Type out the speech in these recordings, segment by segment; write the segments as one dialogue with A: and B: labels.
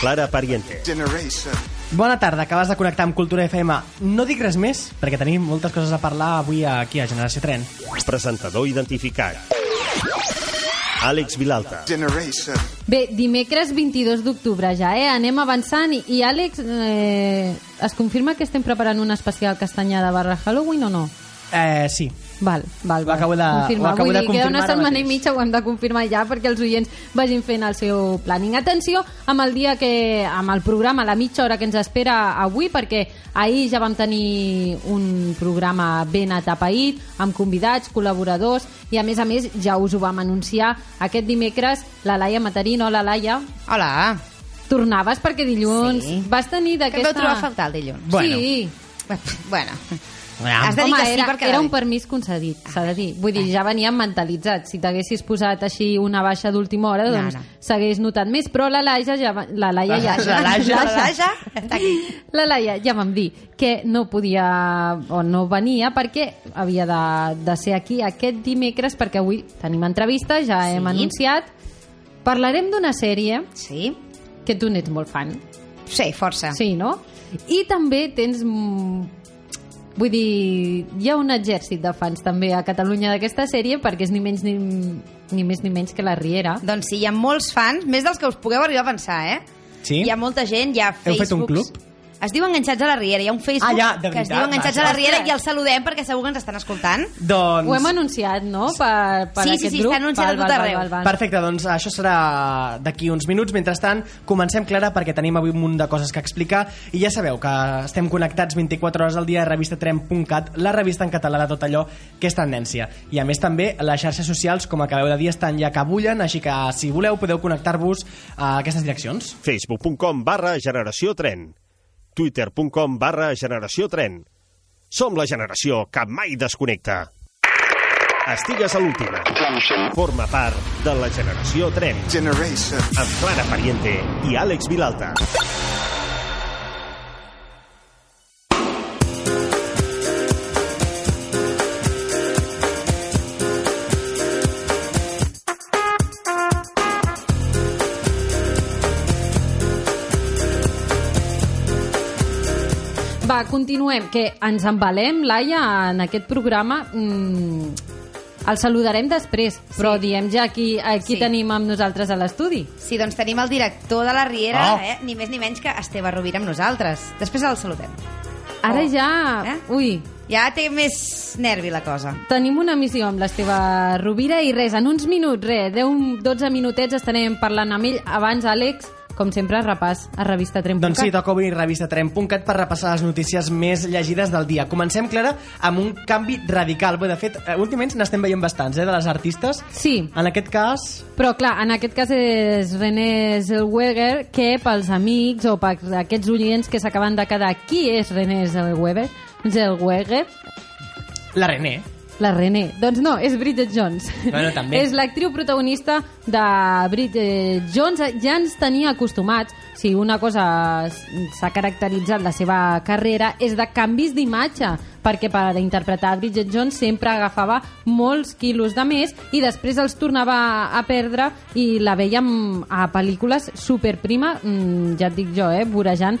A: Clara Pariente.
B: Generation.
C: Bona tarda, acabes de connectar amb Cultura FM. No dic res més, perquè tenim moltes coses a parlar avui aquí a Generació Tren.
A: Presentador identificat. Àlex Vilalta.
B: Generation.
D: Bé, dimecres 22 d'octubre ja, eh? Anem avançant i, i Àlex, eh, es confirma que estem preparant un especial castanyà de barra Halloween o no?
C: Eh, sí.
D: Val, val,
C: Ho
D: val.
C: acabo de-
D: confirmar.
C: ho acabo
D: Vull
C: de
D: dir, queda una
C: confirmar ara
D: setmana i
C: mateix.
D: mitja, ho hem de confirmar ja perquè els oients vagin fent el seu planning. Atenció amb el dia que, amb el programa, la mitja hora que ens espera avui, perquè ahir ja vam tenir un programa ben atapeït, amb convidats, col·laboradors, i a més a més ja us ho vam anunciar aquest dimecres, la Laia Matarín, hola Laia,
E: Hola.
D: tornaves perquè dilluns
E: Sí.
D: vas tenir
E: Que em vau
D: d'aquesta...
E: trobar a faltar el dilluns.
C: Bueno.
D: Sí,
E: Bueno.
C: Has
E: Has de dir
D: Home,
E: que sí
D: era,
E: perquè... Ah. Eh.
D: era un permís concedit, s'ha de dir. Vull dir, ja veníem mentalitzats. Si t'haguessis posat així una baixa d'última hora,
E: No,
D: doncs
E: no.
D: s'hagués notat més. Però la Laia ja... va- La Laia ja...
E: La Laia, la Laia, està aquí.
D: La Laia ja vam dir que no podia o no venia perquè havia de, de ser aquí aquest dimecres perquè avui tenim entrevista, ja
E: Sí.
D: hem anunciat. Parlarem d'una sèrie
E: Sí?
D: que tu n'ets molt fan.
E: Sí, força.
D: Sí, no? I també tens... mm, Vull dir, hi ha un exèrcit de fans també a Catalunya d'aquesta sèrie perquè és ni menys ni, ni més ni menys que la Riera.
E: Doncs sí, hi ha molts fans, més dels que us pugueu arribar a pensar, eh?
C: Sí?
E: Hi ha molta gent, hi ha
C: Heu
E: Facebooks...
C: fet un club?
E: Es diu Enganxats a la Riera, hi ha un Facebook
C: Ah, ja, de
E: que es
C: veritat,
E: diu Enganxats a la
C: vaja.
E: Riera i el saludem perquè segur que ens estan escoltant.
C: Doncs...
D: Ho hem anunciat, no?, per, per
E: Sí, sí,
D: aquest
E: sí,
D: grup.
E: està anunciat
D: Val,
E: a tot
D: val, val,
E: arreu.
D: val, val.
C: Perfecte, doncs això serà d'aquí uns minuts. Mentrestant, comencem, Clara, perquè tenim avui un munt de coses que explicar i ja sabeu que estem connectats 24 hores al dia a revistatrem.cat, la revista en català de tot allò que és tendència. I a més també les xarxes socials, com acabeu de dir, estan ja que bullen, així que si voleu podeu connectar-vos a aquestes direccions.
A: Facebook.com barra Generació Tren. Twitter.com barra Generació Tren. Som la generació que mai desconnecta. Estigues a l'última. Forma part de la Generació Tren.
B: Generation.
A: Amb Clara Pariente i Àlex Vilalta.
D: Va, continuem, que ens embalem, Laia, en aquest programa. Mm, el saludarem després, però diem ja qui, a qui
E: Sí.
D: tenim amb nosaltres a l'estudi.
E: Sí, doncs tenim el director de la Riera,
C: Oh.
E: eh? ni més ni menys que Esteve Rovira amb nosaltres. Després el saludem.
D: Ara
E: Oh.
D: ja...
E: Eh?
D: Ui,
E: Ja té més nervi la cosa.
D: Tenim una missió amb l'Esteve Rovira i res, en uns minuts, res, 10-12 minutets estarem parlant amb ell. Abans, Àlex, com sempre, repàs a revista Trem.
C: Doncs sí, toca obrir revistatrem.cat per repassar les notícies més llegides del dia. Comencem, Clara, amb un canvi radical. Bé, de fet, eh, últimament n'estem veient bastants, eh, de les artistes.
D: Sí,
C: En aquest cas,
D: però clar, en aquest cas és René Zellweger, que pels amics o per aquests oients que s'acaben de quedar, qui és René Zellweger? Zellweger?
C: la René.
D: La René. Doncs no, és Bridget Jones.
C: Bueno, també.
D: és l'actriu protagonista de Bridget Jones. Ja ens tenia acostumats. Si una cosa s- s'ha caracteritzat la seva carrera és de canvis d'imatge, perquè per interpretar Bridget Jones sempre agafava molts quilos de més i després els tornava a perdre i la veiem a pel·lícules superprima, mm, ja et dic jo, eh, vorejant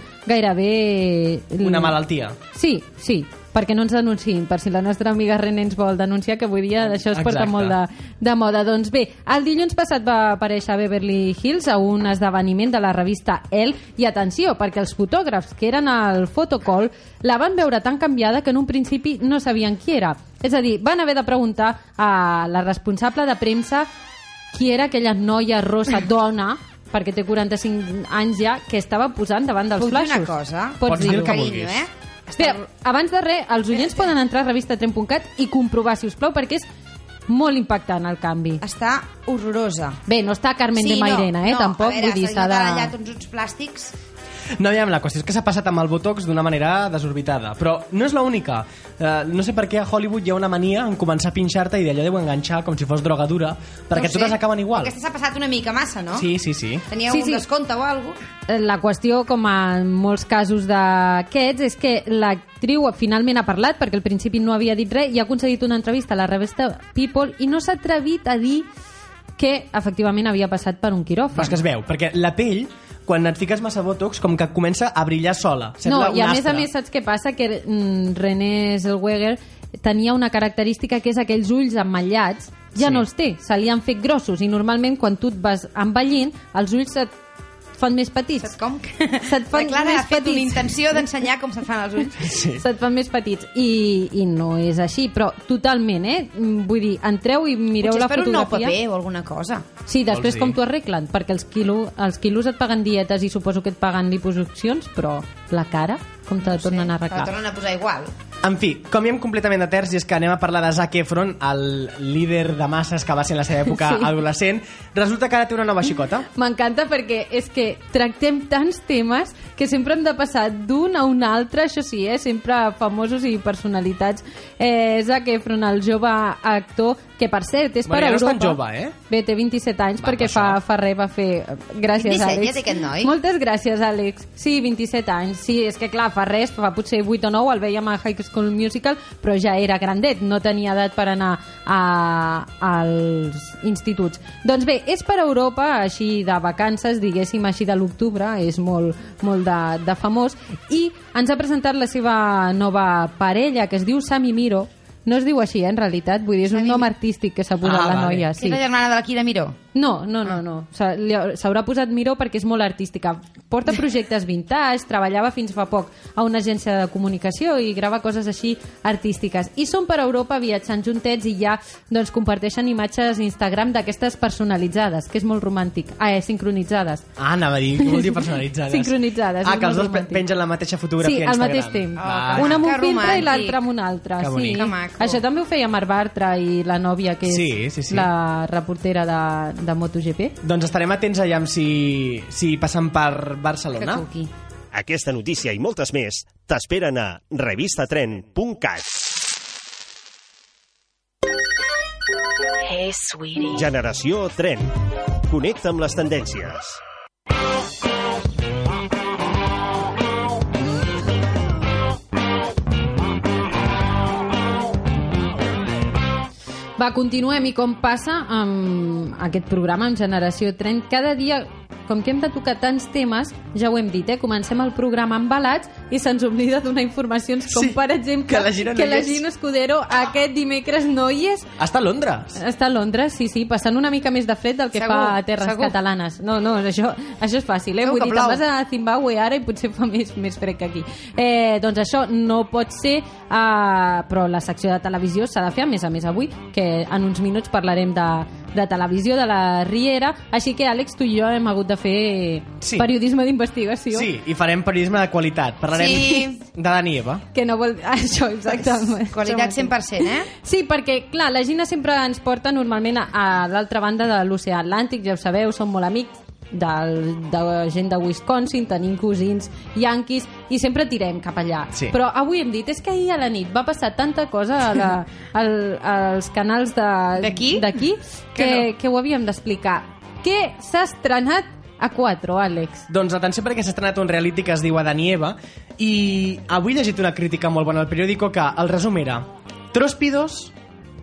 D: gairebé...
C: Una malaltia.
D: Sí, sí, perquè no ens denunciïn, per si la nostra amiga René ens vol denunciar, que avui dia d'això es porta
C: Exacte.
D: molt de, de moda. Doncs bé, el dilluns passat va aparèixer a Beverly Hills a un esdeveniment de la revista Elle, i atenció, perquè els fotògrafs que eren al fotocall la van veure tan canviada que en un principi no sabien qui era. És a dir, van haver de preguntar a la responsable de premsa qui era aquella noia rosa dona perquè té 45 anys ja, que estava posant davant dels
E: Puc dir
D: flaixos.
E: una cosa?
C: Pots dir el
D: dir-ho.
C: que
E: Carinyo,
C: vulguis.
E: eh?
D: Espera, abans de res, els oients poden entrar a revistatrem.cat i comprovar, si us plau, perquè és molt impactant el canvi.
E: Està horrorosa.
D: Bé, no està Carmen de Mairena, eh? Tampoc,
E: a veure,
D: vull dir, s'ha de...
E: allà uns, uns plàstics.
C: No, aviam, la qüestió és que s'ha passat amb el Botox d'una manera desorbitada. Però no és l'única. Eh, no sé per què a Hollywood hi ha una mania en començar a pinxar-te i d'allò deu enganxar com si fos droga dura, perquè
E: no ho sé.
C: totes acaben igual.
E: Aquesta s'ha passat una mica massa, no?
C: Sí, sí, sí.
E: Teníeu
D: Sí,
E: un
D: sí.
E: descompte o alguna cosa?
D: La qüestió, com en molts casos d'aquests, és que l'actriu finalment ha parlat, perquè al principi no havia dit res, i ha concedit una entrevista a la revista People i no s'ha atrevit a dir que efectivament havia passat per un
C: Però és
D: quiròfan.
C: que es veu, perquè la pell quan et fiques massa botox, com que comença a brillar sola. Sembla
D: no, i a
C: un
D: més a
C: astre.
D: més saps què passa? Que mm, René Zellweger tenia una característica que és aquells ulls emmatllats, ja
C: Sí.
D: no els té, se li han fet grossos i normalment quan tu et vas envellint els ulls se't fan més petits.
E: Saps com?
D: Se't fan
E: la Clara
D: més
E: ha fet una
D: petits.
E: intenció d'ensenyar com se fan els ulls.
C: Sí.
D: Se't fan més petits. I, I no és així, però totalment, eh? Mm, Vull dir, entreu i mireu
E: Potser
D: la
E: és per un nou
D: fotografia. Ah,
E: paper o alguna cosa.
D: Sí,
C: Vols
D: després
C: dir?
D: com t'ho arreglen, perquè els, quilo, els quilos et paguen dietes i suposo que et paguen liposuccions, però la cara, com te la tornen a
E: Te la
D: arreglar?
E: tornen a posar igual.
C: En fi, canviem completament de terç i és que anem a parlar de Zac Efron, el líder de masses que va ser en la seva època
D: Sí.
C: sí. adolescent. Resulta que ara té una nova xicota.
D: M'encanta perquè és que tractem tants temes que sempre hem de passar d'un a un altre, això sí, eh? sempre famosos i personalitats. Eh, Zac Efron, el jove actor, que per cert és
C: Bueno,
D: per
C: ja no és
D: Europa.
C: tan jove, eh?
D: Bé, té 27 anys
C: Va,
D: perquè
C: per
D: fa,
C: això.
D: fa res va fer... eh, Gràcies,
E: 27 ja
D: Àlex.
E: té aquest noi.
D: Moltes gràcies, Àlex. Sí, 27 anys. Sí, és que clar, fa res, fa potser 8 o 9, el veiem a High School Musical, però ja era grandet, no tenia edat per anar a, als instituts. Doncs bé, és per Europa, així de vacances, diguéssim així de l'octubre, és molt, molt de, de famós, i ens ha presentat la seva nova parella, que es diu Sami Miro, no es diu així, eh, en realitat. Vull dir, és un
E: Sami-
D: nom artístic que s'ha posat
C: Ah,
D: la
C: vale.
D: noia.
E: Sí.
D: Sí.
E: És la germana de la Kira Miró.
D: No, no,
E: Ah.
D: no, no. S'ha- li ha- S'haurà posat Miró perquè és molt artística. Porta projectes vintage, treballava fins fa poc a una agència de comunicació i grava coses així artístiques. I són per Europa viatjant juntets i ja doncs, comparteixen imatges a Instagram d'aquestes personalitzades, que és molt romàntic. Ah, eh, sincronitzades.
C: Ah, anava a dir, que vol dir personalitzades.
D: Sincronitzades,
C: Ah,
D: és
C: que els
D: molt
C: dos pe-
D: romàntic.
C: pengen la mateixa fotografia
D: sí,
C: a
D: al
C: Instagram. Ah,
D: mateix temps. Ah,
C: Va.
E: Oh,
D: una amb un
E: que
D: filtre i
E: romàntic.
D: l'altra amb un altre.
C: Que
D: sí.
C: bonic.
E: Que maco.
D: Això també ho feia Mar Bartra i la nòvia, que és
C: Sí, sí, sí.
D: la reportera de, de MotoGP.
C: Doncs estarem atents allà si, si passen per
E: Que
C: Barcelona.
E: cuqui.
A: Aquesta notícia i moltes més t'esperen a revistatren.cat.
B: Hey, sweetie.
A: Generació Tren. Connecta amb les tendències.
D: Va, continuem i com passa amb aquest programa, amb Generació 30, cada dia com que hem de tocar tants temes, ja ho hem dit, eh? comencem el programa embalats i se'ns oblida donar informacions com,
C: Sí,
D: per exemple,
C: que la Gina no
D: que
C: hi
D: la
C: és.
D: Gina Escudero aquest dimecres no hi és,
C: Està a Londres.
D: està a Londres, sí, sí, passant una mica més de fred del que
E: Segur,
D: fa a terres
E: segur.
D: catalanes. No, no, això, això és fàcil, eh?
E: Segur
D: Vull
E: que
D: dir, te'n
E: plou.
D: vas a Zimbabue ara i potser fa més, més fred que aquí. Eh, doncs això no pot ser, eh, però la secció de televisió s'ha de fer, a més a més, avui, que en uns minuts parlarem de, de televisió, de la Riera, així que, Àlex, tu i jo hem hagut de fer
C: Sí.
D: periodisme d'investigació.
C: Sí, i farem periodisme de qualitat. Parlarem
E: Sí.
C: de Dani Eva.
D: Que no vol... Això, exactament.
E: Qualitat
D: Això mateix.
E: 100%, eh?
D: Sí, perquè, clar, la Gina sempre ens porta normalment a, a l'altra banda de l'oceà Atlàntic, ja ho sabeu, som molt amics del, de gent de Wisconsin, tenim cosins yanquis i sempre tirem cap allà.
C: Sí.
D: Però avui hem dit, és que ahir a la nit va passar tanta cosa a la, al, als canals de-
E: D'aquí?
D: d'aquí que, que,
E: Que
D: no. que ho havíem d'explicar. Què s'ha estrenat a 4, Àlex?
C: Doncs atenció perquè s'ha estrenat un reality que es diu Adán i Eva i avui he llegit una crítica molt bona al periòdico que el resum era Tróspidos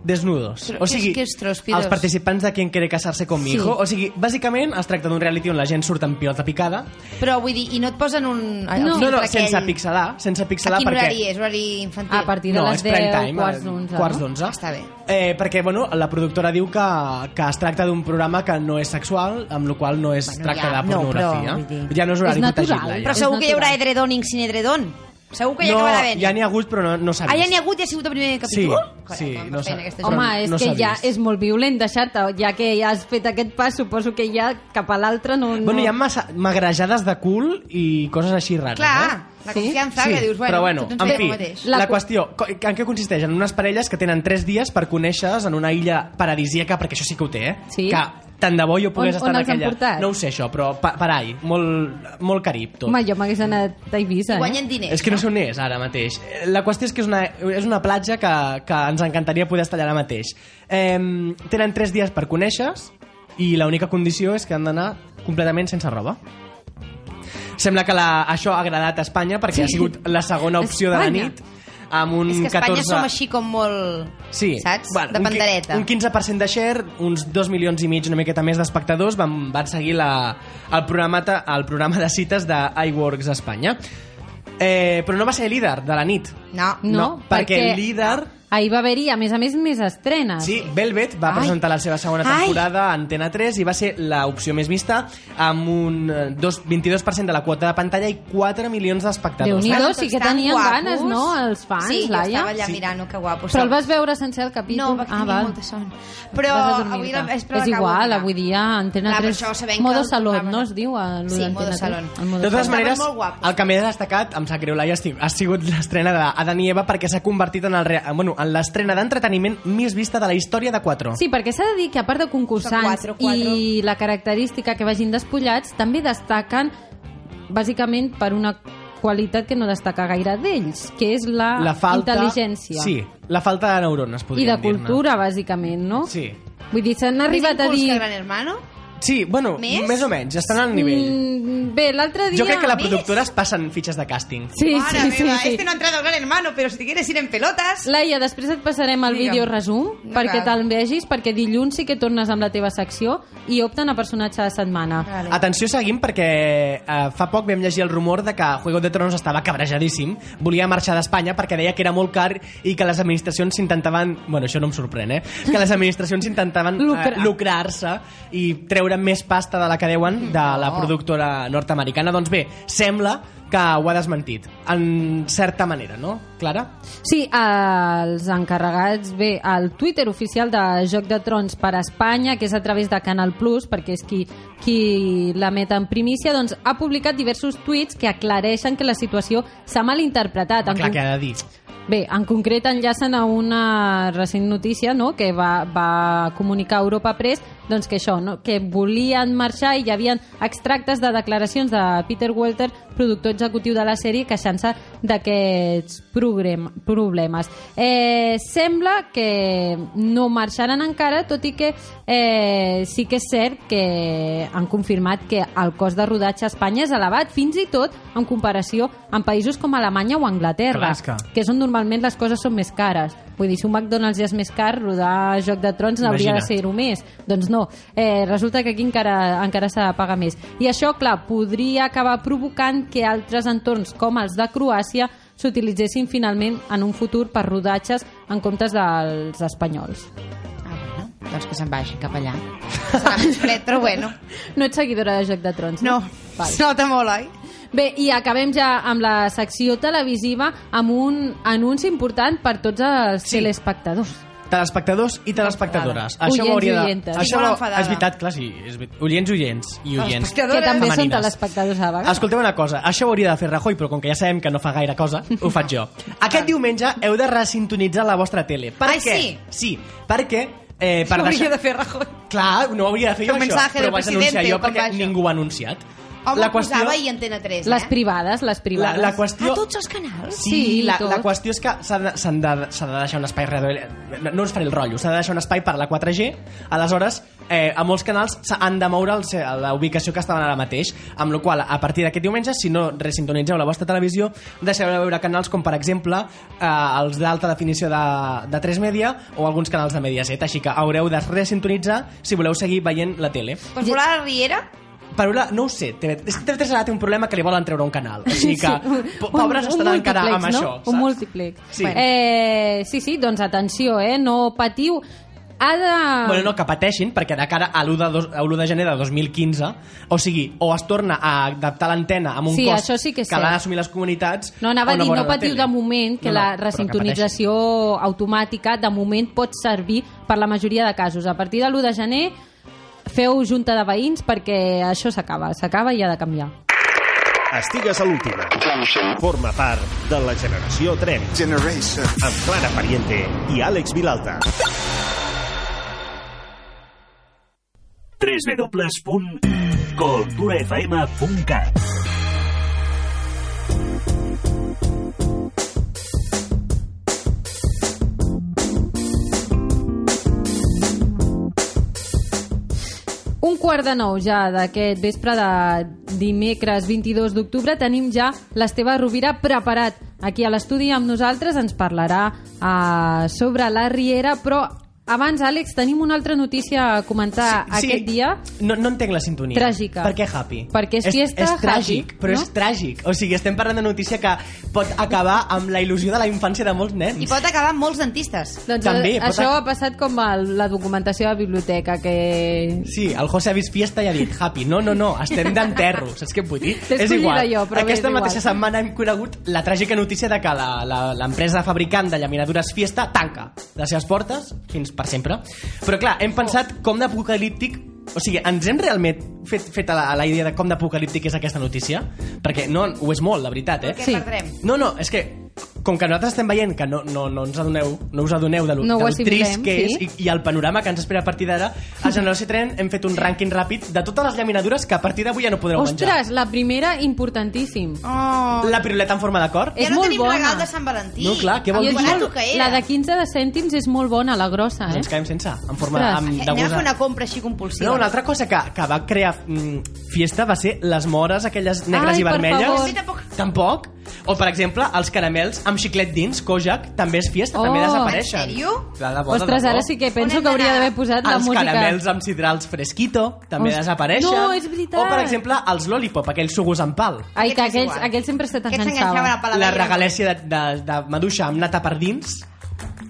C: desnudos. O
E: Però què és-
C: sigui,
E: què és tróspidos?
C: els participants de Quien quiere casarse con mi
D: Sí.
C: hijo. O sigui, bàsicament es tracta d'un reality on la gent surt amb pilota picada.
E: Però vull dir, i no et posen un... el
D: No.
C: no,
E: filtre
C: no
E: aquell-
C: sense pixelar, sense
E: A
C: pixelar
E: quin
C: perquè...
E: horari és? Horari infantil?
D: A partir de
C: Eh, no,
D: les
C: és prime
D: 10,
C: time,
D: quarts
C: eh,
D: d'onze.
C: Quarts
D: no?
C: d'onze.
E: Està bé.
C: Eh, perquè, bueno, la productora diu que, que es tracta d'un programa que no és sexual, amb la qual no es
E: Bueno,
C: tracta
E: ja,
C: de
E: no, però,
C: pornografia.
E: vull dir-
C: ja no és horari
D: És natural,
C: protegit, Laia.
E: Però
D: És
E: segur que hi haurà
D: natural.
E: edredon i sin edredon. Segur que hi
C: no,
E: acabarà havent.
C: ja n'hi ha hagut, però no, no s'ha vist.
E: Ah, ja n'hi ha hagut i ha sigut el primer capítol? Coi,
C: sí,
E: com
C: no
E: va fent
C: s'ha-
E: aquesta
C: Però
D: Home,
E: gent.
D: és
C: no
D: que
C: s'ha
D: ja
C: vist.
D: és molt violent deixar-te, ja que ja has fet aquest pas, suposo que ja cap a l'altre no... no...
C: Bueno, hi ha massa, magrejades de cul i coses així rares,
E: Clar,
C: eh?
E: la
D: Sí?
E: confiança que dius, bueno,
C: però bueno,
E: tots ens
C: en
E: fem
C: fi,
E: el mateix.
C: la,
D: La cu-
C: qüestió, co- en què consisteix? En unes parelles que tenen 3 dies per conèixer en una illa paradisíaca, perquè això sí que ho té, eh?
D: Sí?
C: Que tant de bo jo pogués
D: On-
C: estar
D: on
C: en
D: els han
C: aquella...
D: portat?
C: No ho sé, això, però pa parai, molt, molt carib, tot.
D: Home, jo m'hagués anat a Eivissa,
E: I
D: eh?
E: guanyen diners.
C: És que no sé on és ara mateix. Eh, La qüestió és que és una, és una platja que, que ens encantaria poder estar allà ara mateix. Eh, tenen 3 dies per conèixer-se i l'única condició és que han d'anar completament sense roba. Sembla que la, això ha agradat a Espanya perquè sí. ha sigut la segona opció de la
D: Espanya.
C: nit. amb un
E: És que a
C: 14...
E: Espanya som així com molt...
C: Sí.
E: Saps?
C: Bueno,
E: de
C: un qui-
E: pandereta.
C: Un 15% de share, uns 2 milions i mig, una miqueta més d'espectadors, van, van seguir la, el, programa, ta- el programa de cites de iWorks Espanya. Eh, però no va ser líder de la nit.
E: No.
D: No,
C: perquè,
D: perquè-
C: el líder...
D: Ahir va haver-hi, a més a més, més estrenes.
C: Sí, Velvet va
D: Ai.
C: presentar la seva segona
E: Ai.
C: temporada a Antena 3 i va ser l'opció més vista amb un eh, dos, 22% de la quota de pantalla i 4 milions d'espectadors.
D: Déu-n'hi-do.
E: Bueno,
D: sí
E: tots
D: que
E: tan
D: tenien
E: guapos.
D: ganes, no, els fans,
E: sí,
D: Laia?
E: Sí, estava allà
C: Sí.
E: mirant, oh, que guapo.
D: Però el vas veure sencer el
F: No,
D: capítol? Ah,
F: vaig tenir
D: val.
F: molta son.
E: Però
D: Vas a dormir-te.
E: avui la vespre
D: És igual, avui dia Antena
E: Clar,
D: 3...
E: però això sabem que
D: modo
E: el
D: salón,
E: programa-
D: no es diu? A lo
E: Sí,
D: d'Antena
E: modo
D: 3?
E: salón.
D: El modo
C: De totes
E: Estaven
C: maneres,
E: molt guapos.
C: el que més ha destacat, em sap greu, Laia, estic- ha sigut l'estrena d'Adam i Eva perquè s'ha convertit en el rea- en, bueno, en l'estrena d'entreteniment més vista de la història de 4.
D: Sí, perquè s'ha de dir que a part de concursants
E: Són quatre, quatre.
D: i la característica que vagin despullats, també destaquen bàsicament per una qualitat que no destaca gaire d'ells, que és la,
C: la falta...
D: ah, intel·ligència.
C: Sí, la falta de neurones,
D: I
C: podríem
D: de
C: dir-ne.
D: cultura, bàsicament, no?
C: Sí.
D: Vull dir, s'han arribat a dir...
E: Que Gran Hermano?
C: Sí, bueno,
E: Més?
C: més o menys, estan al nivell.
D: Mm, bé, l'altre dia...
C: jo crec que la
D: Més?
C: productora es passen fitxes de càsting.
D: Sí,
E: Mare
D: sí, sí,
E: meva,
D: sí.
E: este no ha entrado al Gran Hermano, pero si te quieres ir en pelotas...
D: Laia, després et passarem el
E: Digue'm.
D: vídeo resum
E: No
D: perquè
E: cal.
D: te'l vegis, perquè dilluns sí que tornes amb la teva secció i opten a personatge de setmana.
E: Vale.
C: Atenció, seguim, perquè eh, fa poc vam llegir el rumor de que Juego de Tronos estava cabrejadíssim, volia marxar d'Espanya perquè deia que era molt car i que les administracions s'intentaven... Bueno, això no em sorprèn, eh? Que les administracions s'intentaven eh,
D: Lucrar.
C: lucrar-se i treure més pasta de la que deuen de la
D: Oh.
C: productora nord-americana. Doncs bé, sembla que ho ha desmentit, en certa manera, no, Clara?
D: Sí, els encarregats, bé, el Twitter oficial de Joc de Trons per a Espanya, que és a través de Canal Plus, perquè és qui, qui la meta en primícia, doncs ha publicat diversos tuits que aclareixen que la situació s'ha malinterpretat.
C: Home,
D: Doncs En
C: clar,
D: conc-
C: què ha de dir?
D: Bé, en concret enllacen a una recent notícia no? que va, va comunicar Europa Press doncs que això, no? que volien marxar i hi havia extractes de declaracions de Peter Welter, productor executiu de la sèrie, queixant-se d'aquests progrem- problemes. Eh, sembla que no marxaran encara, tot i que eh, sí que és cert que han confirmat que el cost de rodatge a Espanya és elevat, fins i tot en comparació amb països com Alemanya o Anglaterra
C: Clar, és que-
D: que és on normalment les coses són més cares. Vull dir, si un McDonald's ja és més car, rodar Joc de Trons no hauria de
C: Imagina't.
D: ser-ho més. Doncs no, eh, resulta que aquí encara, encara s'ha de pagar més. I això, clar, podria acabar provocant que altres entorns com els de Croàcia s'utilitzessin finalment en un futur per rodatges en comptes dels espanyols.
E: Ah, bueno, doncs que se'n vagi cap allà. Serà més fred, però bueno.
D: No ets seguidora de Joc de Trons,
E: No,
D: no? Val.
E: es nota molt, oi?
D: Bé, i acabem ja amb la secció televisiva amb un anunci important per tots els
C: Sí.
D: telespectadors.
C: Telespectadors i telespectadores.
D: Enfadada.
C: Això ho hauria de...
D: Oients i oientes.
E: Estic
C: Això
E: molt
C: ho-
E: enfadada.
C: és veritat, clar, sí. És... veritat. Oients i oients. I oients.
D: Que també són
C: Femenines.
D: telespectadors a vegades.
C: Escolteu una cosa, això ho hauria de fer Rajoy, però com que ja sabem que no fa gaire cosa, ho faig jo. Aquest diumenge heu de resintonitzar la vostra tele. Per
E: Ai,
C: què?
E: sí?
C: Sí, perquè... Eh, per
E: Això
C: deixar...
E: hauria de fer Rajoy.
C: Clar, no ho hauria de fer
E: Fer
C: jo,
E: un
C: això,
E: mensaje
C: però
E: del
C: ho vaig anunciar
E: presidente,
C: jo
E: o com
C: perquè
E: va això?
C: ningú ho ha anunciat.
E: Home,
C: la qüestió...
E: posava i Antena 3, eh?
D: Les privades, les
C: La,
D: privades.
C: la qüestió...
F: A tots els canals?
C: Sí,
D: Sí,
C: la,
D: tot.
C: la qüestió és que s'ha de, s'han de, s'ha de deixar un espai... reduït. No, no us faré el rotllo, s'ha de deixar un espai per a la 4G. Aleshores, eh, a molts canals s'han de moure el, se- a la ubicació que estaven ara mateix, amb la qual cosa, a partir d'aquest diumenge, si no resintonitzeu la vostra televisió, deixareu de veure canals com, per exemple, eh, els d'alta definició de, de 3 Media o alguns canals de Mediaset, així que haureu de resintonitzar si voleu seguir veient la tele.
E: Pots volar a la Riera?
C: Però la, no ho sé, TV3, és que TV3 ara té un problema que li volen treure un canal. Així que,
D: Sí,
C: po
D: un-
C: pobres
D: un
C: estaran encara
D: múltiplex,
C: amb
D: no?
C: això.
D: Un
C: saps?
D: múltiplex.
C: Sí.
D: Eh, sí, sí, doncs atenció, eh? No patiu. Ha de...
C: Bueno, no, que pateixin, perquè de cara a l'1 de, dos- a l'1 de gener de 2015, o sigui, o es torna a adaptar l'antena amb un
D: Sí,
C: cost
D: això sí que és
C: l'han
D: cert.
C: d'assumir les comunitats...
D: No, anava
C: o
D: a dir,
C: veuran
D: no
C: la
D: patiu
C: tele.
D: de moment, que
C: No, no,
D: la
C: però
D: resintonització automàtica de moment pot servir per la majoria de casos. A partir de l'1 de gener feu junta de veïns perquè això s'acaba, s'acaba i ha de canviar.
A: Estigues a l'última. Forma part de la generació 3.
G: Generation.
A: Amb Clara Pariente i Àlex Vilalta.
H: www.culturafm.cat
D: Un quart de nou ja d'aquest vespre de dimecres 22 d'octubre tenim ja l'Esteve Rovira preparat aquí a l'estudi amb nosaltres, ens parlarà eh, sobre la Riera, però abans, Àlex, tenim una altra notícia a comentar aquest dia.
C: No, no entenc la sintonia.
D: Tràgica.
C: Per què happy?
D: Perquè és fiesta,
C: és
D: happy,
C: tràgic, però
D: no?
C: és tràgic. O sigui, estem parlant de notícia que pot acabar amb la il·lusió de la infància de molts nens.
E: I pot acabar amb molts dentistes.
D: Doncs
C: També,
D: eh,
C: pot
D: això
C: ac-
D: ha passat com a la documentació de la biblioteca, que...
C: Sí, el José ha vist fiesta i ha dit happy. No, no, no, estem d'enterro, saps què et vull dir?
D: T'he escollida jo, però bé,
C: Aquesta
D: és igual.
C: mateixa setmana hem conegut la tràgica notícia de que la- la- l'empresa fabricant de llaminadures Fiesta tanca les seves portes fins per sempre. Però clar, hem
D: Oh.
C: pensat com d'apocalíptic o sigui, ens hem realment fet, fet a la, a la idea de com d'apocalíptic és aquesta notícia? Perquè no, ho és molt, la veritat, eh?
E: Què
D: Sí.
E: perdrem?
C: No, no, és que com que nosaltres estem veient que no, no, no, ens adoneu, no us adoneu de lo,
D: No ho
C: del
D: assimilem,
C: trist que
D: sí.
C: és i, i el panorama que ens espera a partir d'ara, a Generació Tren hem fet un rànquing ràpid de totes les llaminadures que a partir d'avui ja no podreu
D: Ostres, la primera, importantíssim.
E: Oh,
C: menjar. La piruleta en forma de cor.
D: Eh,
E: ja
D: és
E: no
D: molt
E: tenim
D: bona.
E: regal de Sant Valentí.
C: No, clar, què vol
E: Em
C: dir?
E: recordo
C: Jo-
E: que era.
D: La de 15 de cèntims és molt bona, la grossa, eh?
C: Ens quedem Doncs sense, en forma
D: Ostres,
C: amb, de
E: Eh, Anem a
C: gos-
E: fer una compra així compulsiva.
C: No, una altra cosa que, que va crear mm, fiesta va ser les mores, aquelles negres
D: Ai,
C: i
D: per
C: vermelles.
D: favor.
E: Sí, tampoc.
C: Tampoc. O, per exemple, els caramels amb xiclet dins, Kojak, també és fiesta, també
D: Oh.
C: desapareixen.
E: En sèrio?
C: Clar, de bo, de
D: Ostres,
C: debò.
D: ara sí que penso
E: On hem
D: que hauria
E: d'anar?
D: d'haver posat la
C: els
D: música.
C: caramels amb sidrals fresquito també
D: Ostres,
C: desapareixen.
D: no, és veritat.
C: O, per exemple, els lollipop, aquells sugus amb pal.
D: Ai, que
E: Aquests és
D: aquells,
E: igual.
D: aquells sempre se
E: Aquests s'enganxaven
D: t'enganxaven.
E: a paladar.
C: La regalèssia de, de, de maduixa amb nata per dins.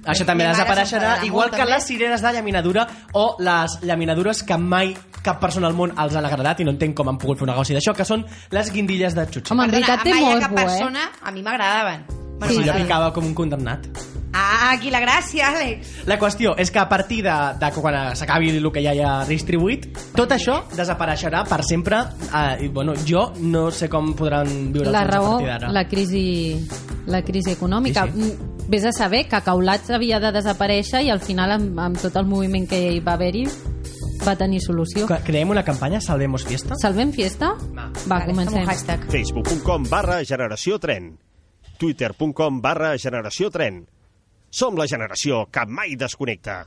C: Això també
E: Mi mare
C: desapareixerà,
E: s'enfadarà
C: igual
E: molt,
C: que
E: també.
C: les cireres de llaminadura o les llaminadures que mai cap persona al món els han agradat i no entenc com han pogut fer un negoci d'això, que són les guindilles de xutxa.
D: Home, en veritat té
E: a Maia,
D: molt
E: cap
D: bo, eh?
E: persona, a mi m'agradaven.
C: Però si jo
E: m'agradaven.
C: picava com un condemnat.
E: Ah, aquí la gràcia, Àlex.
C: La qüestió és que a partir de, de quan s'acabi el que ja hi ha distribuït, tot això desapareixerà per sempre. Eh, i, bueno, jo no sé com podran viure
D: La
C: els nens a
D: raó,
C: partir d'ara.
D: la crisi, la crisi econòmica.
C: Sí, sí.
D: Mm, Vés a saber que Caulats havia de desaparèixer i al final, amb, amb tot el moviment que hi va haver-hi, va tenir solució.
C: Que- Creem una campanya, Salvemos Fiesta?
D: Salvem fiesta?
C: Va.
D: Va,
E: Vale, fem
D: comencem.
E: un hashtag.
A: facebook.com barra generació tren twitter.com barra generació tren Som la generació que mai desconnecta.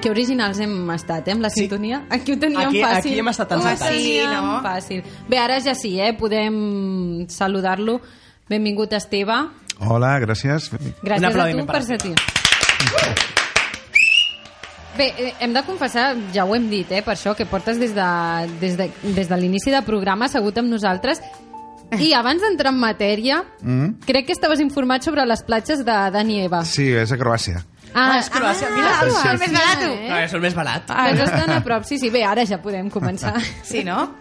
D: Que originals hem estat, eh, amb la
C: Sí.
D: sintonia. Aquí ho teníem
C: Aquí-
D: fàcil.
C: aquí hem estat els
D: Ho
C: atacats.
D: teníem
E: Sí, no?
D: fàcil. Bé, ara ja sí, eh? Podem saludar-lo. Benvingut, Esteve.
F: Hola, gràcies.
C: Un
D: Gràcies a
C: aplaudiment
D: tu
C: per
D: per ser
C: Esteve.
D: tio. Bé, eh, hem de confessar, ja ho hem dit, eh, per això, que portes des de, des de, des de l'inici del programa assegut amb nosaltres i abans d'entrar en matèria,
F: Mm?
D: crec que estaves informat sobre les platges de Dani Eva.
F: Sí, és a Croàcia.
C: Ah, és Croàcia, mira.
D: ah,
F: Sí, sí.
D: Croàcia,
E: Més barat, tu.
D: eh?
C: No, és el més barat.
D: Ah, Ens estan a prop, sí, sí. Bé, ara ja podem començar.
E: Sí, no?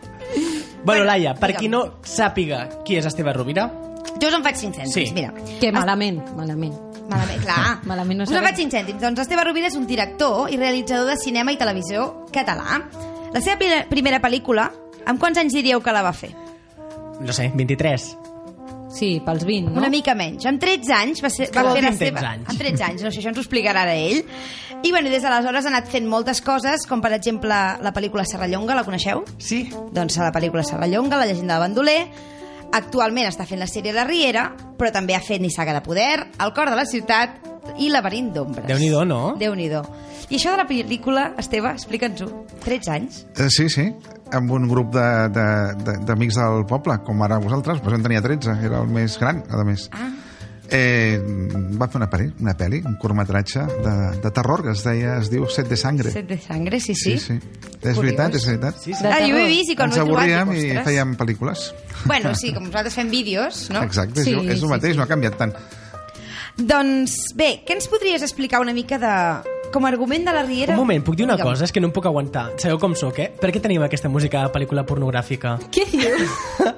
C: Bueno, Laia, per
E: digue'm.
C: qui no sàpiga qui és Esteve Rovira,
E: Jo us en faig 5 cèntims,
C: Sí.
E: mira.
D: Que malament, malament.
E: Malament, clar.
D: Malament no
E: Us en
D: sabem.
E: faig 5 cèntims. Doncs Esteve Rovira és un director i realitzador de cinema i televisió català. La seva pri- primera pel·lícula, amb quants anys diríeu que la va fer?
C: no sé, 23.
D: Sí, pels 20, no?
E: Una mica menys. Amb 13 anys va, ser,
C: Què
E: va
C: vol
E: fer
C: dir
E: la
C: amb 13
E: seva...
C: anys?
E: Amb 13 anys, no sé, això ens ho explicarà ara ell. I bueno, des d'aleshores ha anat fent moltes coses, com per exemple la pel·lícula Serrallonga, la coneixeu?
C: Sí.
E: Doncs a la pel·lícula Serrallonga, La llegenda del bandoler. Actualment està fent la sèrie La Riera, però també ha fet Nissaga de poder, El cor de la ciutat i Laberint d'ombres.
C: Déu-n'hi-do, no?
E: Déu-n'hi-do. I això de la pel·lícula, Esteve, explica'ns-ho. 13 anys?
F: Eh, Sí, sí, amb un grup de- de- de- d'amics de, del poble, com ara vosaltres, però jo en tenia 13, era el més gran, a més.
E: Ah.
F: Eh, va fer una pel·li, una pel·li, un curtmetratge de, de terror que es deia, es diu Set de Sangre.
E: Set de sangre, sí, sí.
F: Sí, sí. És veritat, és veritat.
C: Sí, sí.
E: Ah, jo ho he vist i quan
F: Ens
E: ho he trobat,
F: avorríem
E: dic,
F: i
E: "Ostres".
F: fèiem pel·lícules.
E: Bueno, sí, com nosaltres fem vídeos, no?
F: Exacte,
D: Sí,
F: sí, és, és
D: sí,
F: el mateix,
D: sí.
F: no ha canviat tant.
E: Doncs bé, què ens podries explicar una mica de... com a argument de la Riera?
C: Un moment, puc dir una
E: Digue'm.
C: cosa? És que no em puc aguantar. Sabeu com sóc, eh? Per què tenim aquesta música de pel·lícula pornogràfica?
D: Què dius?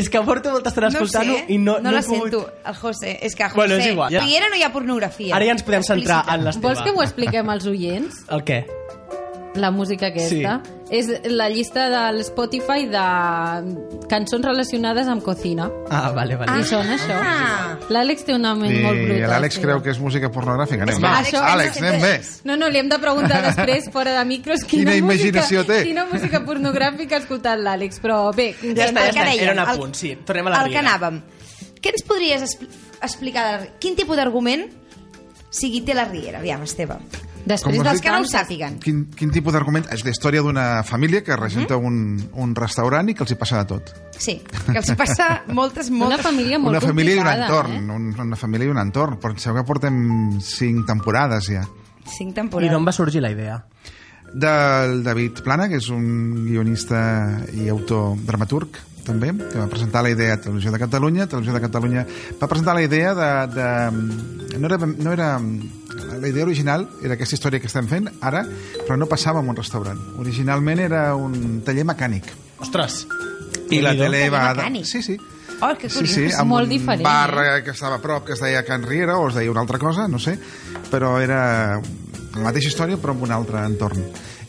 C: és que porto molta estona escoltant-ho
E: no ho sé,
C: i no,
E: no, la
C: he pogut...
E: sento, el José. És que, José,
C: Bueno, és igual, ja.
E: Riera no hi ha pornografia.
C: Ara ja ens podem centrar
E: Explícita.
C: en l'Esteve.
D: Vols que ho expliquem als oients?
C: El què?
D: la música aquesta. Sí. És la llista del Spotify de cançons relacionades amb cocina.
C: Ah, vale, vale.
D: Ah. I són això. L'Àlex té una ment
F: I
D: molt bruta.
F: l'Àlex
D: sí.
F: creu que és música pornogràfica. Anem bé.
D: Àlex,
F: Àlex, anem bé.
D: No, no, li hem de preguntar després, fora de micros, quina,
F: Quina imaginació
D: música,
F: té.
D: Quina música pornogràfica ha escoltat l'Àlex, però bé...
C: Ja està,
E: El
C: ja
E: que
C: està.
E: dèiem,
C: Era un
E: el-
C: apunt, sí. Tornem a la
E: el que
C: Riera.
E: anàvem. Què ens podries expl- explicar? De... la- Quin tipus d'argument sigui té la Riera? Aviam, Esteve.
D: Després
F: Com
E: Els
D: dels
E: que no ho
D: canals...
E: sàpiguen.
F: Quin, quin tipus d'argument? És la història d'una família que regenta un, un restaurant i que els hi passa de tot.
E: Sí, que els hi passa moltes,
D: Una
E: moltes...
D: família molt
F: una família i un
D: complicada,
F: entorn.
D: eh?
F: Un, una família i un entorn. Penseu que portem cinc temporades ja.
C: I
E: Cinc
C: d'on
E: temporades.
C: va sorgir la idea?
F: Del David Plana, que és un guionista i autor dramaturg, també, que va presentar la idea a Televisió de Catalunya. Televisió de Catalunya va presentar la idea de... de no, era, no era... La idea original era aquesta història que estem fent ara, però no passava en un restaurant. Originalment era un taller mecànic.
C: Ostres.
F: I la tele
E: Taller
F: va...
E: mecànic.
F: Sí, sí.
E: Oh, que
F: Sí,
E: curiós.
F: sí, amb
D: molt
F: un
D: diferent,
F: bar
D: eh?
F: eh, que estava a prop, que es deia Can Riera, o es deia una altra cosa, no sé, però era la mateixa història, però amb un altre entorn.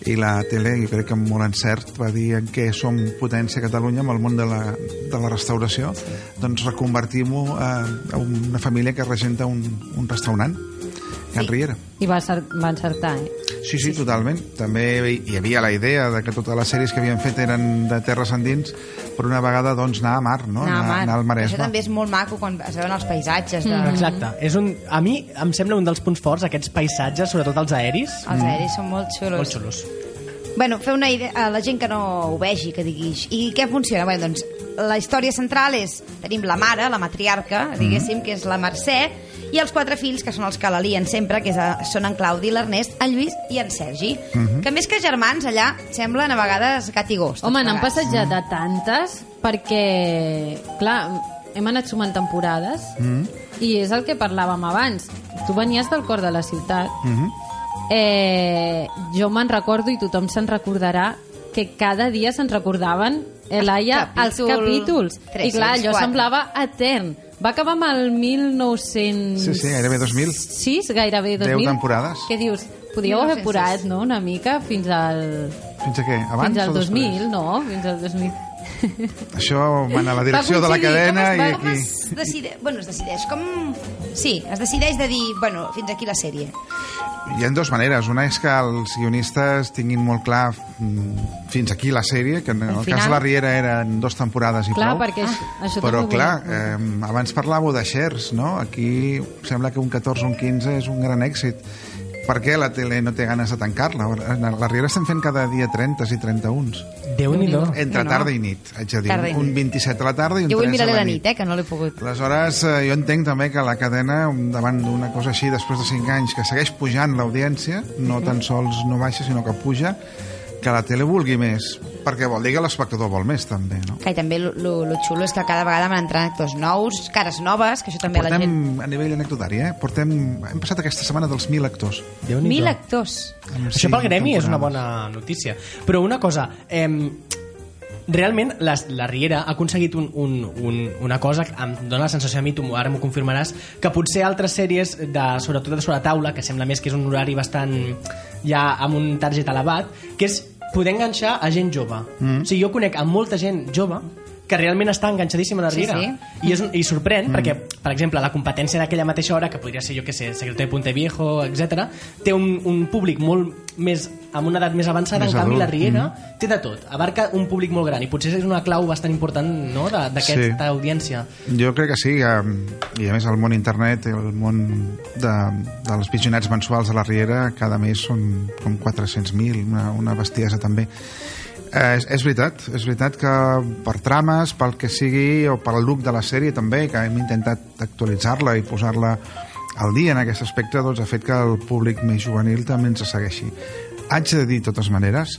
F: I la tele, jo crec que amb molt encert, va dir en què som potència a Catalunya amb el món de la, de la restauració, doncs reconvertim-ho a, a una família que regenta un, un restaurant, Can Riera.
D: I va, ser, va encertar, eh?
F: Sí, sí, totalment. També hi havia la idea de que totes les sèries que havien fet eren de terres endins, per una vegada doncs anar a mar, no?
E: Anar a mar.
F: anar al Maresme.
E: Això també és molt maco quan es veuen els paisatges. De...
C: Exacte. És un, a mi em sembla un dels punts forts, aquests paisatges, sobretot els aeris.
E: Els aeris són molt xulos.
C: Molt xulos.
E: Bueno, fer una idea a la gent que no ho vegi, que digui... I què funciona? Bueno, doncs la història central és... Tenim la mare, la matriarca, diguéssim, que és la Mercè, i els quatre fills, que són els que la lien sempre, que és a, són en Claudi, l'Ernest, en Lluís i en Sergi. Que més que germans, allà semblen a vegades gat i gos.
D: Home, n'han
E: tots
D: passat ja de tantes, perquè, clar, hem anat sumant temporades,
F: Mm.
D: i és el que parlàvem abans. Tu venies del cor de la ciutat,
F: Mm-hmm.
D: eh, jo me'n recordo, i tothom se'n recordarà, que cada dia se'n recordaven, eh, Laia,
E: Capítol
D: els capítols. I clar, allò
E: 304.
D: semblava etern. Va acabar amb el 1900...
F: Sí, sí, gairebé 2000.
D: 6, gairebé 2000.
F: Deu temporades.
D: Què dius? Podíeu haver
E: 1906.
D: apurat, no?, una mica fins al...
F: Fins a què? Abans
D: Fins al
F: o després?
D: 2000, no? Fins al 2000.
F: Això va anar a la direcció de la
D: aconseguir,
F: cadena
D: com
F: i
D: es va-
E: Com
F: aquí...
E: es decide... Bueno, es decideix com... Sí, es decideix de dir, bueno, fins aquí la sèrie.
F: Hi ha dues maneres. Una és que els guionistes tinguin molt clar mm, fins aquí la sèrie, que en el, cas
D: final.
F: de la Riera eren dues temporades i
D: Clar,
F: prou. Ah,
D: perquè això- això
F: Però,
D: també ho
F: clar,
D: vull.
F: eh, abans parlàveu de shares, no? Aquí sembla que un 14 un 15 és un gran èxit. Per què la tele no té ganes de tancar-la? A La Riera estem fent cada dia 30 i 31.
C: Déu-n'hi-do.
F: Entre
E: No.
F: tarda i nit, haig de dir.
E: Tarda i
F: Un 27 a la tarda i un
E: Jo
F: 3 a la nit.
E: vull mirar-li la nit, eh, que no l'he pogut.
F: Aleshores, eh, jo entenc també que la cadena, davant d'una cosa així, després de 5 anys, que segueix pujant l'audiència,
C: Mhm.
F: no tan sols no baixa, sinó que puja, que la tele vulgui més, perquè vol dir que l'espectador vol més, també, no?
E: Que i també lo, lo, lo xulo és que cada vegada van entrant actors nous, cares noves, que això també a la gent...
F: Portem, a nivell anecdotari, eh? Portem, hem passat aquesta setmana dels 1.000 actors.
C: Déu-n'hi-do.
E: Mil actors.
F: Amb
C: Això pel
F: cinc
C: gremi és una
F: temporades.
C: bona notícia. Però una cosa, eh, realment la, la Riera ha aconseguit un, un, un, una cosa que em dóna la sensació a mi, tu m'ho- ara m'ho confirmaràs, que potser altres sèries, de, sobretot de sobre taula, que sembla més que és un horari bastant ja amb un target elevat, que és poder enganxar a gent jove. Mm. O sigui, jo conec a molta gent jove que realment està enganxadíssima a la
E: Sí,
C: Riera.
E: sí.
C: I, és, un- i sorprèn, mm. perquè, per exemple, la competència d'aquella mateixa hora, que podria ser, jo que sé, Secreto de Ponteviejo, etc, té un, un públic molt més amb una edat més avançada,
F: Més
C: en canvi
F: adult,
C: la Riera mm. té de tot, abarca un públic molt gran i potser és una clau bastant important no, de- d'aquesta
F: Sí.
C: sí. audiència.
F: Jo crec que sí, em, i a més el món internet, el món de, dels visionats mensuals de la Riera, cada mes són com 400.000, una, una bestiesa també. Eh, és, és veritat, és veritat que per trames, pel que sigui, o pel look de la sèrie també, que hem intentat actualitzar-la i posar-la al dia en aquest aspecte, doncs ha fet que el públic més juvenil també ens segueixi. Haig de dir, de totes maneres,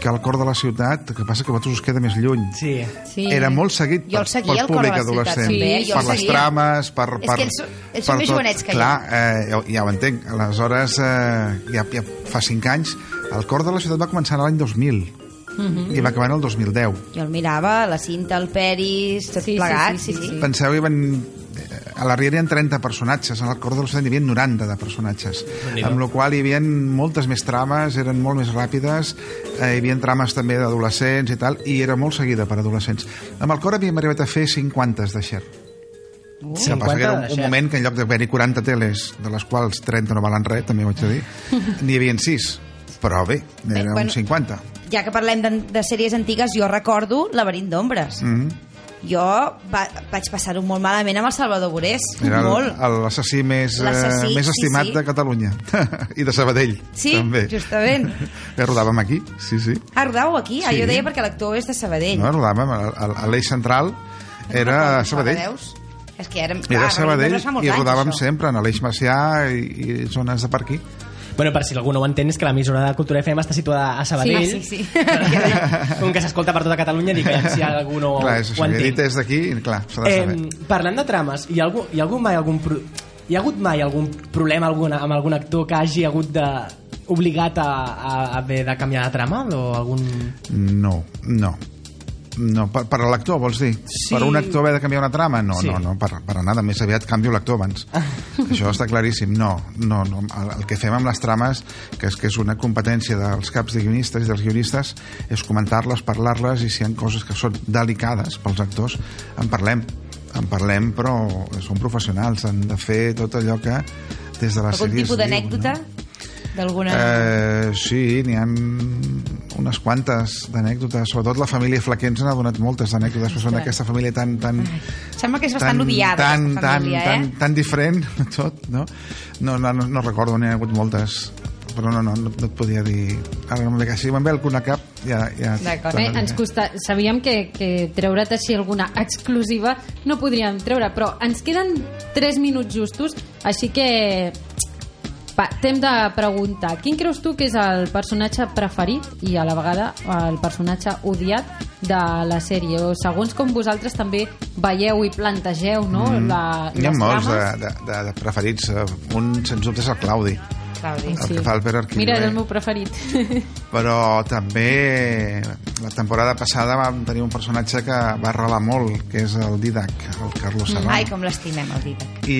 F: que el cor de la ciutat, el que passa que a vosaltres us queda més lluny,
C: Sí.
D: Sí.
F: era molt seguit
E: Jo
F: pel,
E: el seguia,
F: pel
E: el Cor de
F: públic
E: la Ciutat,
F: adolescent.
D: també, eh? Jo
F: per
D: el
F: les
E: seguia.
F: trames, per...
E: És
F: per
E: que ells són- ells són
F: per
E: més
F: tot.
E: jovenets que
F: Clar, eh, ja, ja ho entenc. Aleshores, eh, ja, ja fa 5 anys, el cor de la ciutat va començar l'any 2000
E: Mhm.
F: i va acabar en el 2010.
E: Jo el mirava, la cinta, el peris, tot
D: Sí, sí,
E: plegat.
D: sí, sí, sí.
F: Penseu, hi van, eh, a la Riera hi ha 30 personatges, en el Corredor de l'Occident hi havia 90 de personatges,
G: Déu-n'hi-do.
F: amb la qual hi havia moltes més trames, eren molt més ràpides, eh, hi havia trames també d'adolescents i tal, i era molt seguida per adolescents. Amb el cor havíem arribat a fer 50 de xer. Que passa que era un, un moment que en lloc d'haver-hi 40 teles, de les quals 30 no valen res, també ho haig de dir, n'hi havien 6. Però bé,
E: Bé,
F: era
E: quan-
F: un 50.
E: Ja que parlem de, de sèries antigues, jo recordo Laberint d'Ombres.
F: Mm
E: Jo va, vaig passar-ho molt malament amb el Salvador Borés.
F: Era el-
E: molt.
F: el- l'assassí més, eh,
E: L'assassí,
F: més
E: sí,
F: estimat
E: sí.
F: de Catalunya. I de Sabadell,
E: Sí,
F: també.
E: justament.
F: Ja rodàvem aquí, sí, sí.
E: Ah, rodau aquí? Ah,
F: Sí.
E: jo deia perquè l'actor és de Sabadell.
F: No, rodàvem, a- a- a l'eix central era Sabadell.
E: Veus? És que era, Ah,
F: Era Sabadell i rodàvem
E: rodàvem
F: sempre en l'eix Macià i, i zones de per aquí.
C: Bueno, per si algú no ho entén, és que l'emissora de Cultura FM està situada a Sabadell.
E: Sí, sí, sí.
C: Com que s'escolta per tota Catalunya, dic, aviam si algú no
F: clar, és
C: ho
F: això, que he dit
C: entén.
F: és d'aquí, i clar, s'ha de saber.
C: Eh, parlant de trames, hi ha, algú, hi ha, algun mai algun pro... hi ha hagut mai algun problema alguna, amb algun actor que hagi hagut de obligat a, a, a haver de canviar de trama o algun...
F: No, no. No, per, per a l'actor, vols dir?
C: Sí.
F: Per un actor haver de canviar una trama? No,
C: Sí.
F: no, no, per, per a nada. Més aviat canvio l'actor abans.
E: Ah.
F: Això està claríssim. No, no, no. El, el que fem amb les trames, que és que és una competència dels caps de guionistes i dels guionistes, és comentar-les, parlar-les, i si hi ha coses que són delicades pels actors, en parlem. En parlem, però són professionals, han de fer tot allò que des de la
E: Algun
F: sèrie es
E: tipus
F: diu,
E: d'anècdota?
F: No?
E: D'alguna...
F: Eh, sí, n'hi ha unes quantes d'anècdotes. Sobretot la família Flaquer ens n'ha donat moltes d'anècdotes, però són d'aquesta família tan... tan
E: Sembla que és bastant odiada,
F: tan,
E: aquesta família,
F: tan,
E: eh?
F: tan, tan diferent tot, no? No, no, no, no recordo, n'hi ha hagut moltes però no, no, no, et podia dir ara no em ve que- si me'n ve algun a cap ja, ja
E: D'acord.
D: Bé,
F: te'n
D: ens
F: diré.
D: costa... Sabíem que, que treure't així alguna exclusiva no podríem treure, però ens queden 3 minuts justos, així que... Va, temps de preguntar. Quin creus tu que és el personatge preferit i a la vegada el personatge odiat de la sèrie? O segons com vosaltres també veieu i plantegeu no? Mm. la,
F: N'hi ha
D: les
F: molts de,
D: trames.
F: de, de, de preferits Eh, un sens dubte és el Claudi
E: Claudi.
F: eh, el que fa el Pere Arquivé.
D: Mira, és el meu preferit.
F: però també la temporada passada vam tenir un personatge que va relar molt, que és el Didac, el Carlos Serrano.
E: Mm, Ai, com l'estimem, el Didac.
F: I,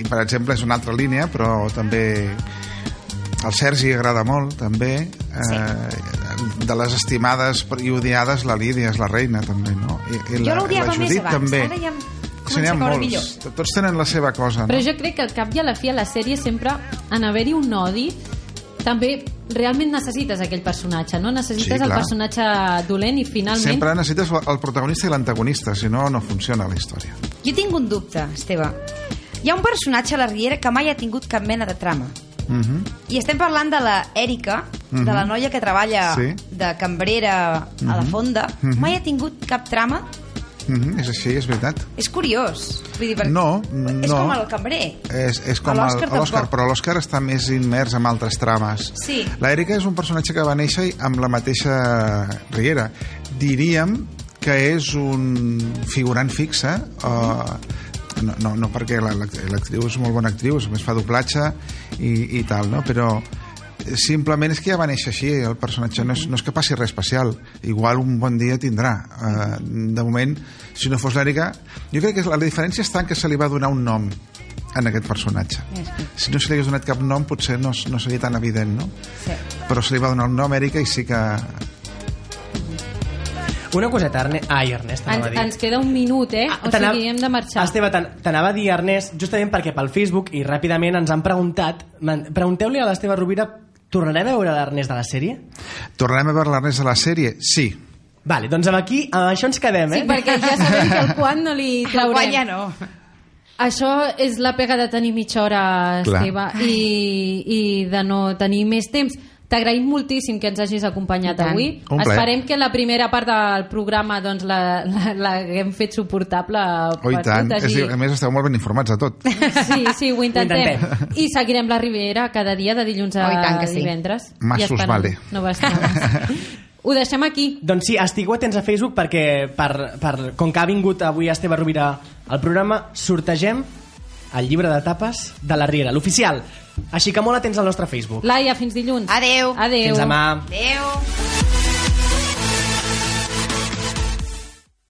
F: I, per exemple, és una altra línia, però també el Sergi agrada molt, també.
E: Sí.
F: Eh, de les estimades i odiades, la Lídia és la reina, també, no? I, i
E: Jo l'odiava més
F: Judit,
E: abans,
F: també.
E: ara ja em
F: Sí, n'hi
E: comença
F: ha
E: a caure
F: molts.
E: millor.
F: Tots tenen la seva cosa, Ah, no?
D: Però jo crec que al cap i a la fi a la sèrie sempre en haver-hi un odi també realment necessites aquell personatge, no? Necessites
F: Sí,
D: el
F: clar.
D: personatge dolent i finalment...
F: Sempre necessites el protagonista i l'antagonista, si no, no funciona la història.
E: Jo tinc un dubte, Esteve. Hi ha un personatge a la Riera que mai ha tingut cap mena de trama.
F: Mhm.
E: I estem parlant de la Èrica,
F: Mhm.
E: de la noia que treballa
F: Sí.
E: de cambrera a la fonda.
F: Mhm.
E: Mai ha tingut cap trama.
F: Mhm, és així, és veritat.
E: És curiós. Vull dir, perquè
F: No,
E: És
F: no.
E: com el cambrer.
F: És, és com
E: A l'Òscar
F: el- a l'Òscar,
E: tampoc.
F: però l'Òscar està més immers amb altres trames.
E: Sí.
F: L'Èrica és un personatge que va néixer amb la mateixa Riera. Diríem que és un figurant fixe, eh, no, no, no perquè la- l'act- l'actriu és molt bona actriu, a més fa doblatge i, i tal, no? però simplement és que ja va néixer així el personatge, no és, no és que passi res especial igual un bon dia tindrà Eh, de moment, si no fos l'Èrica jo crec que la diferència està en que se li va donar un nom en aquest personatge si no se li hagués donat cap nom potser no, no seria tan evident no?
E: Sí.
F: però se li va donar un nom Èrica i sí que
C: Una coseta, Erne... Ai, Ernest,
D: Ens,
C: t'anava a dir.
D: ens queda un minut,
E: Ah,
D: eh? O
C: Ah, T'anava-
D: sigui, hem de marxar.
C: Esteve, t'an- t'anava a dir, Ernest, justament perquè pel Facebook i ràpidament ens han preguntat... man- Pregunteu-li a l'Esteve Rovira tornarem a veure l'Ernest de la sèrie?
F: tornarem a veure la resta de la sèrie? sí,
C: Vale, doncs amb aquí, amb això ens quedem, eh?
D: Sí, perquè ja sabem que el quan no li
E: El
D: traurem.
E: guany ja no.
D: Això és la pega de tenir mitja hora,
F: Clar.
D: Esteve, i, i de no tenir més temps. T'agraïm moltíssim que ens hagis acompanyat
E: I tant.
D: avui.
F: Un plaer.
D: Esperem que la primera part del programa doncs, la- la- l'haguem fet suportable
F: oh, i
D: per
F: tant
D: totes.
F: és, a dir, a més esteu molt ben informats de tot
D: Sí, sí, ho intentem.
C: Ho intentem.
D: I seguirem la Riviera cada dia de dilluns a
E: Oh, i tant que sí.
D: divendres.
F: Más
D: I
F: sus
D: esperant
F: vale.
D: Noves trames. Ho deixem aquí.
C: Doncs sí, estigueu atents a Facebook perquè per, per, com que ha vingut avui Esteve Rovira al programa, sortegem el llibre de tapes de la Riera, l'oficial. Així que molt atents al nostre Facebook.
D: Laia, fins dilluns.
E: Adeu.
D: Adeu.
C: Fins demà.
E: Adeu.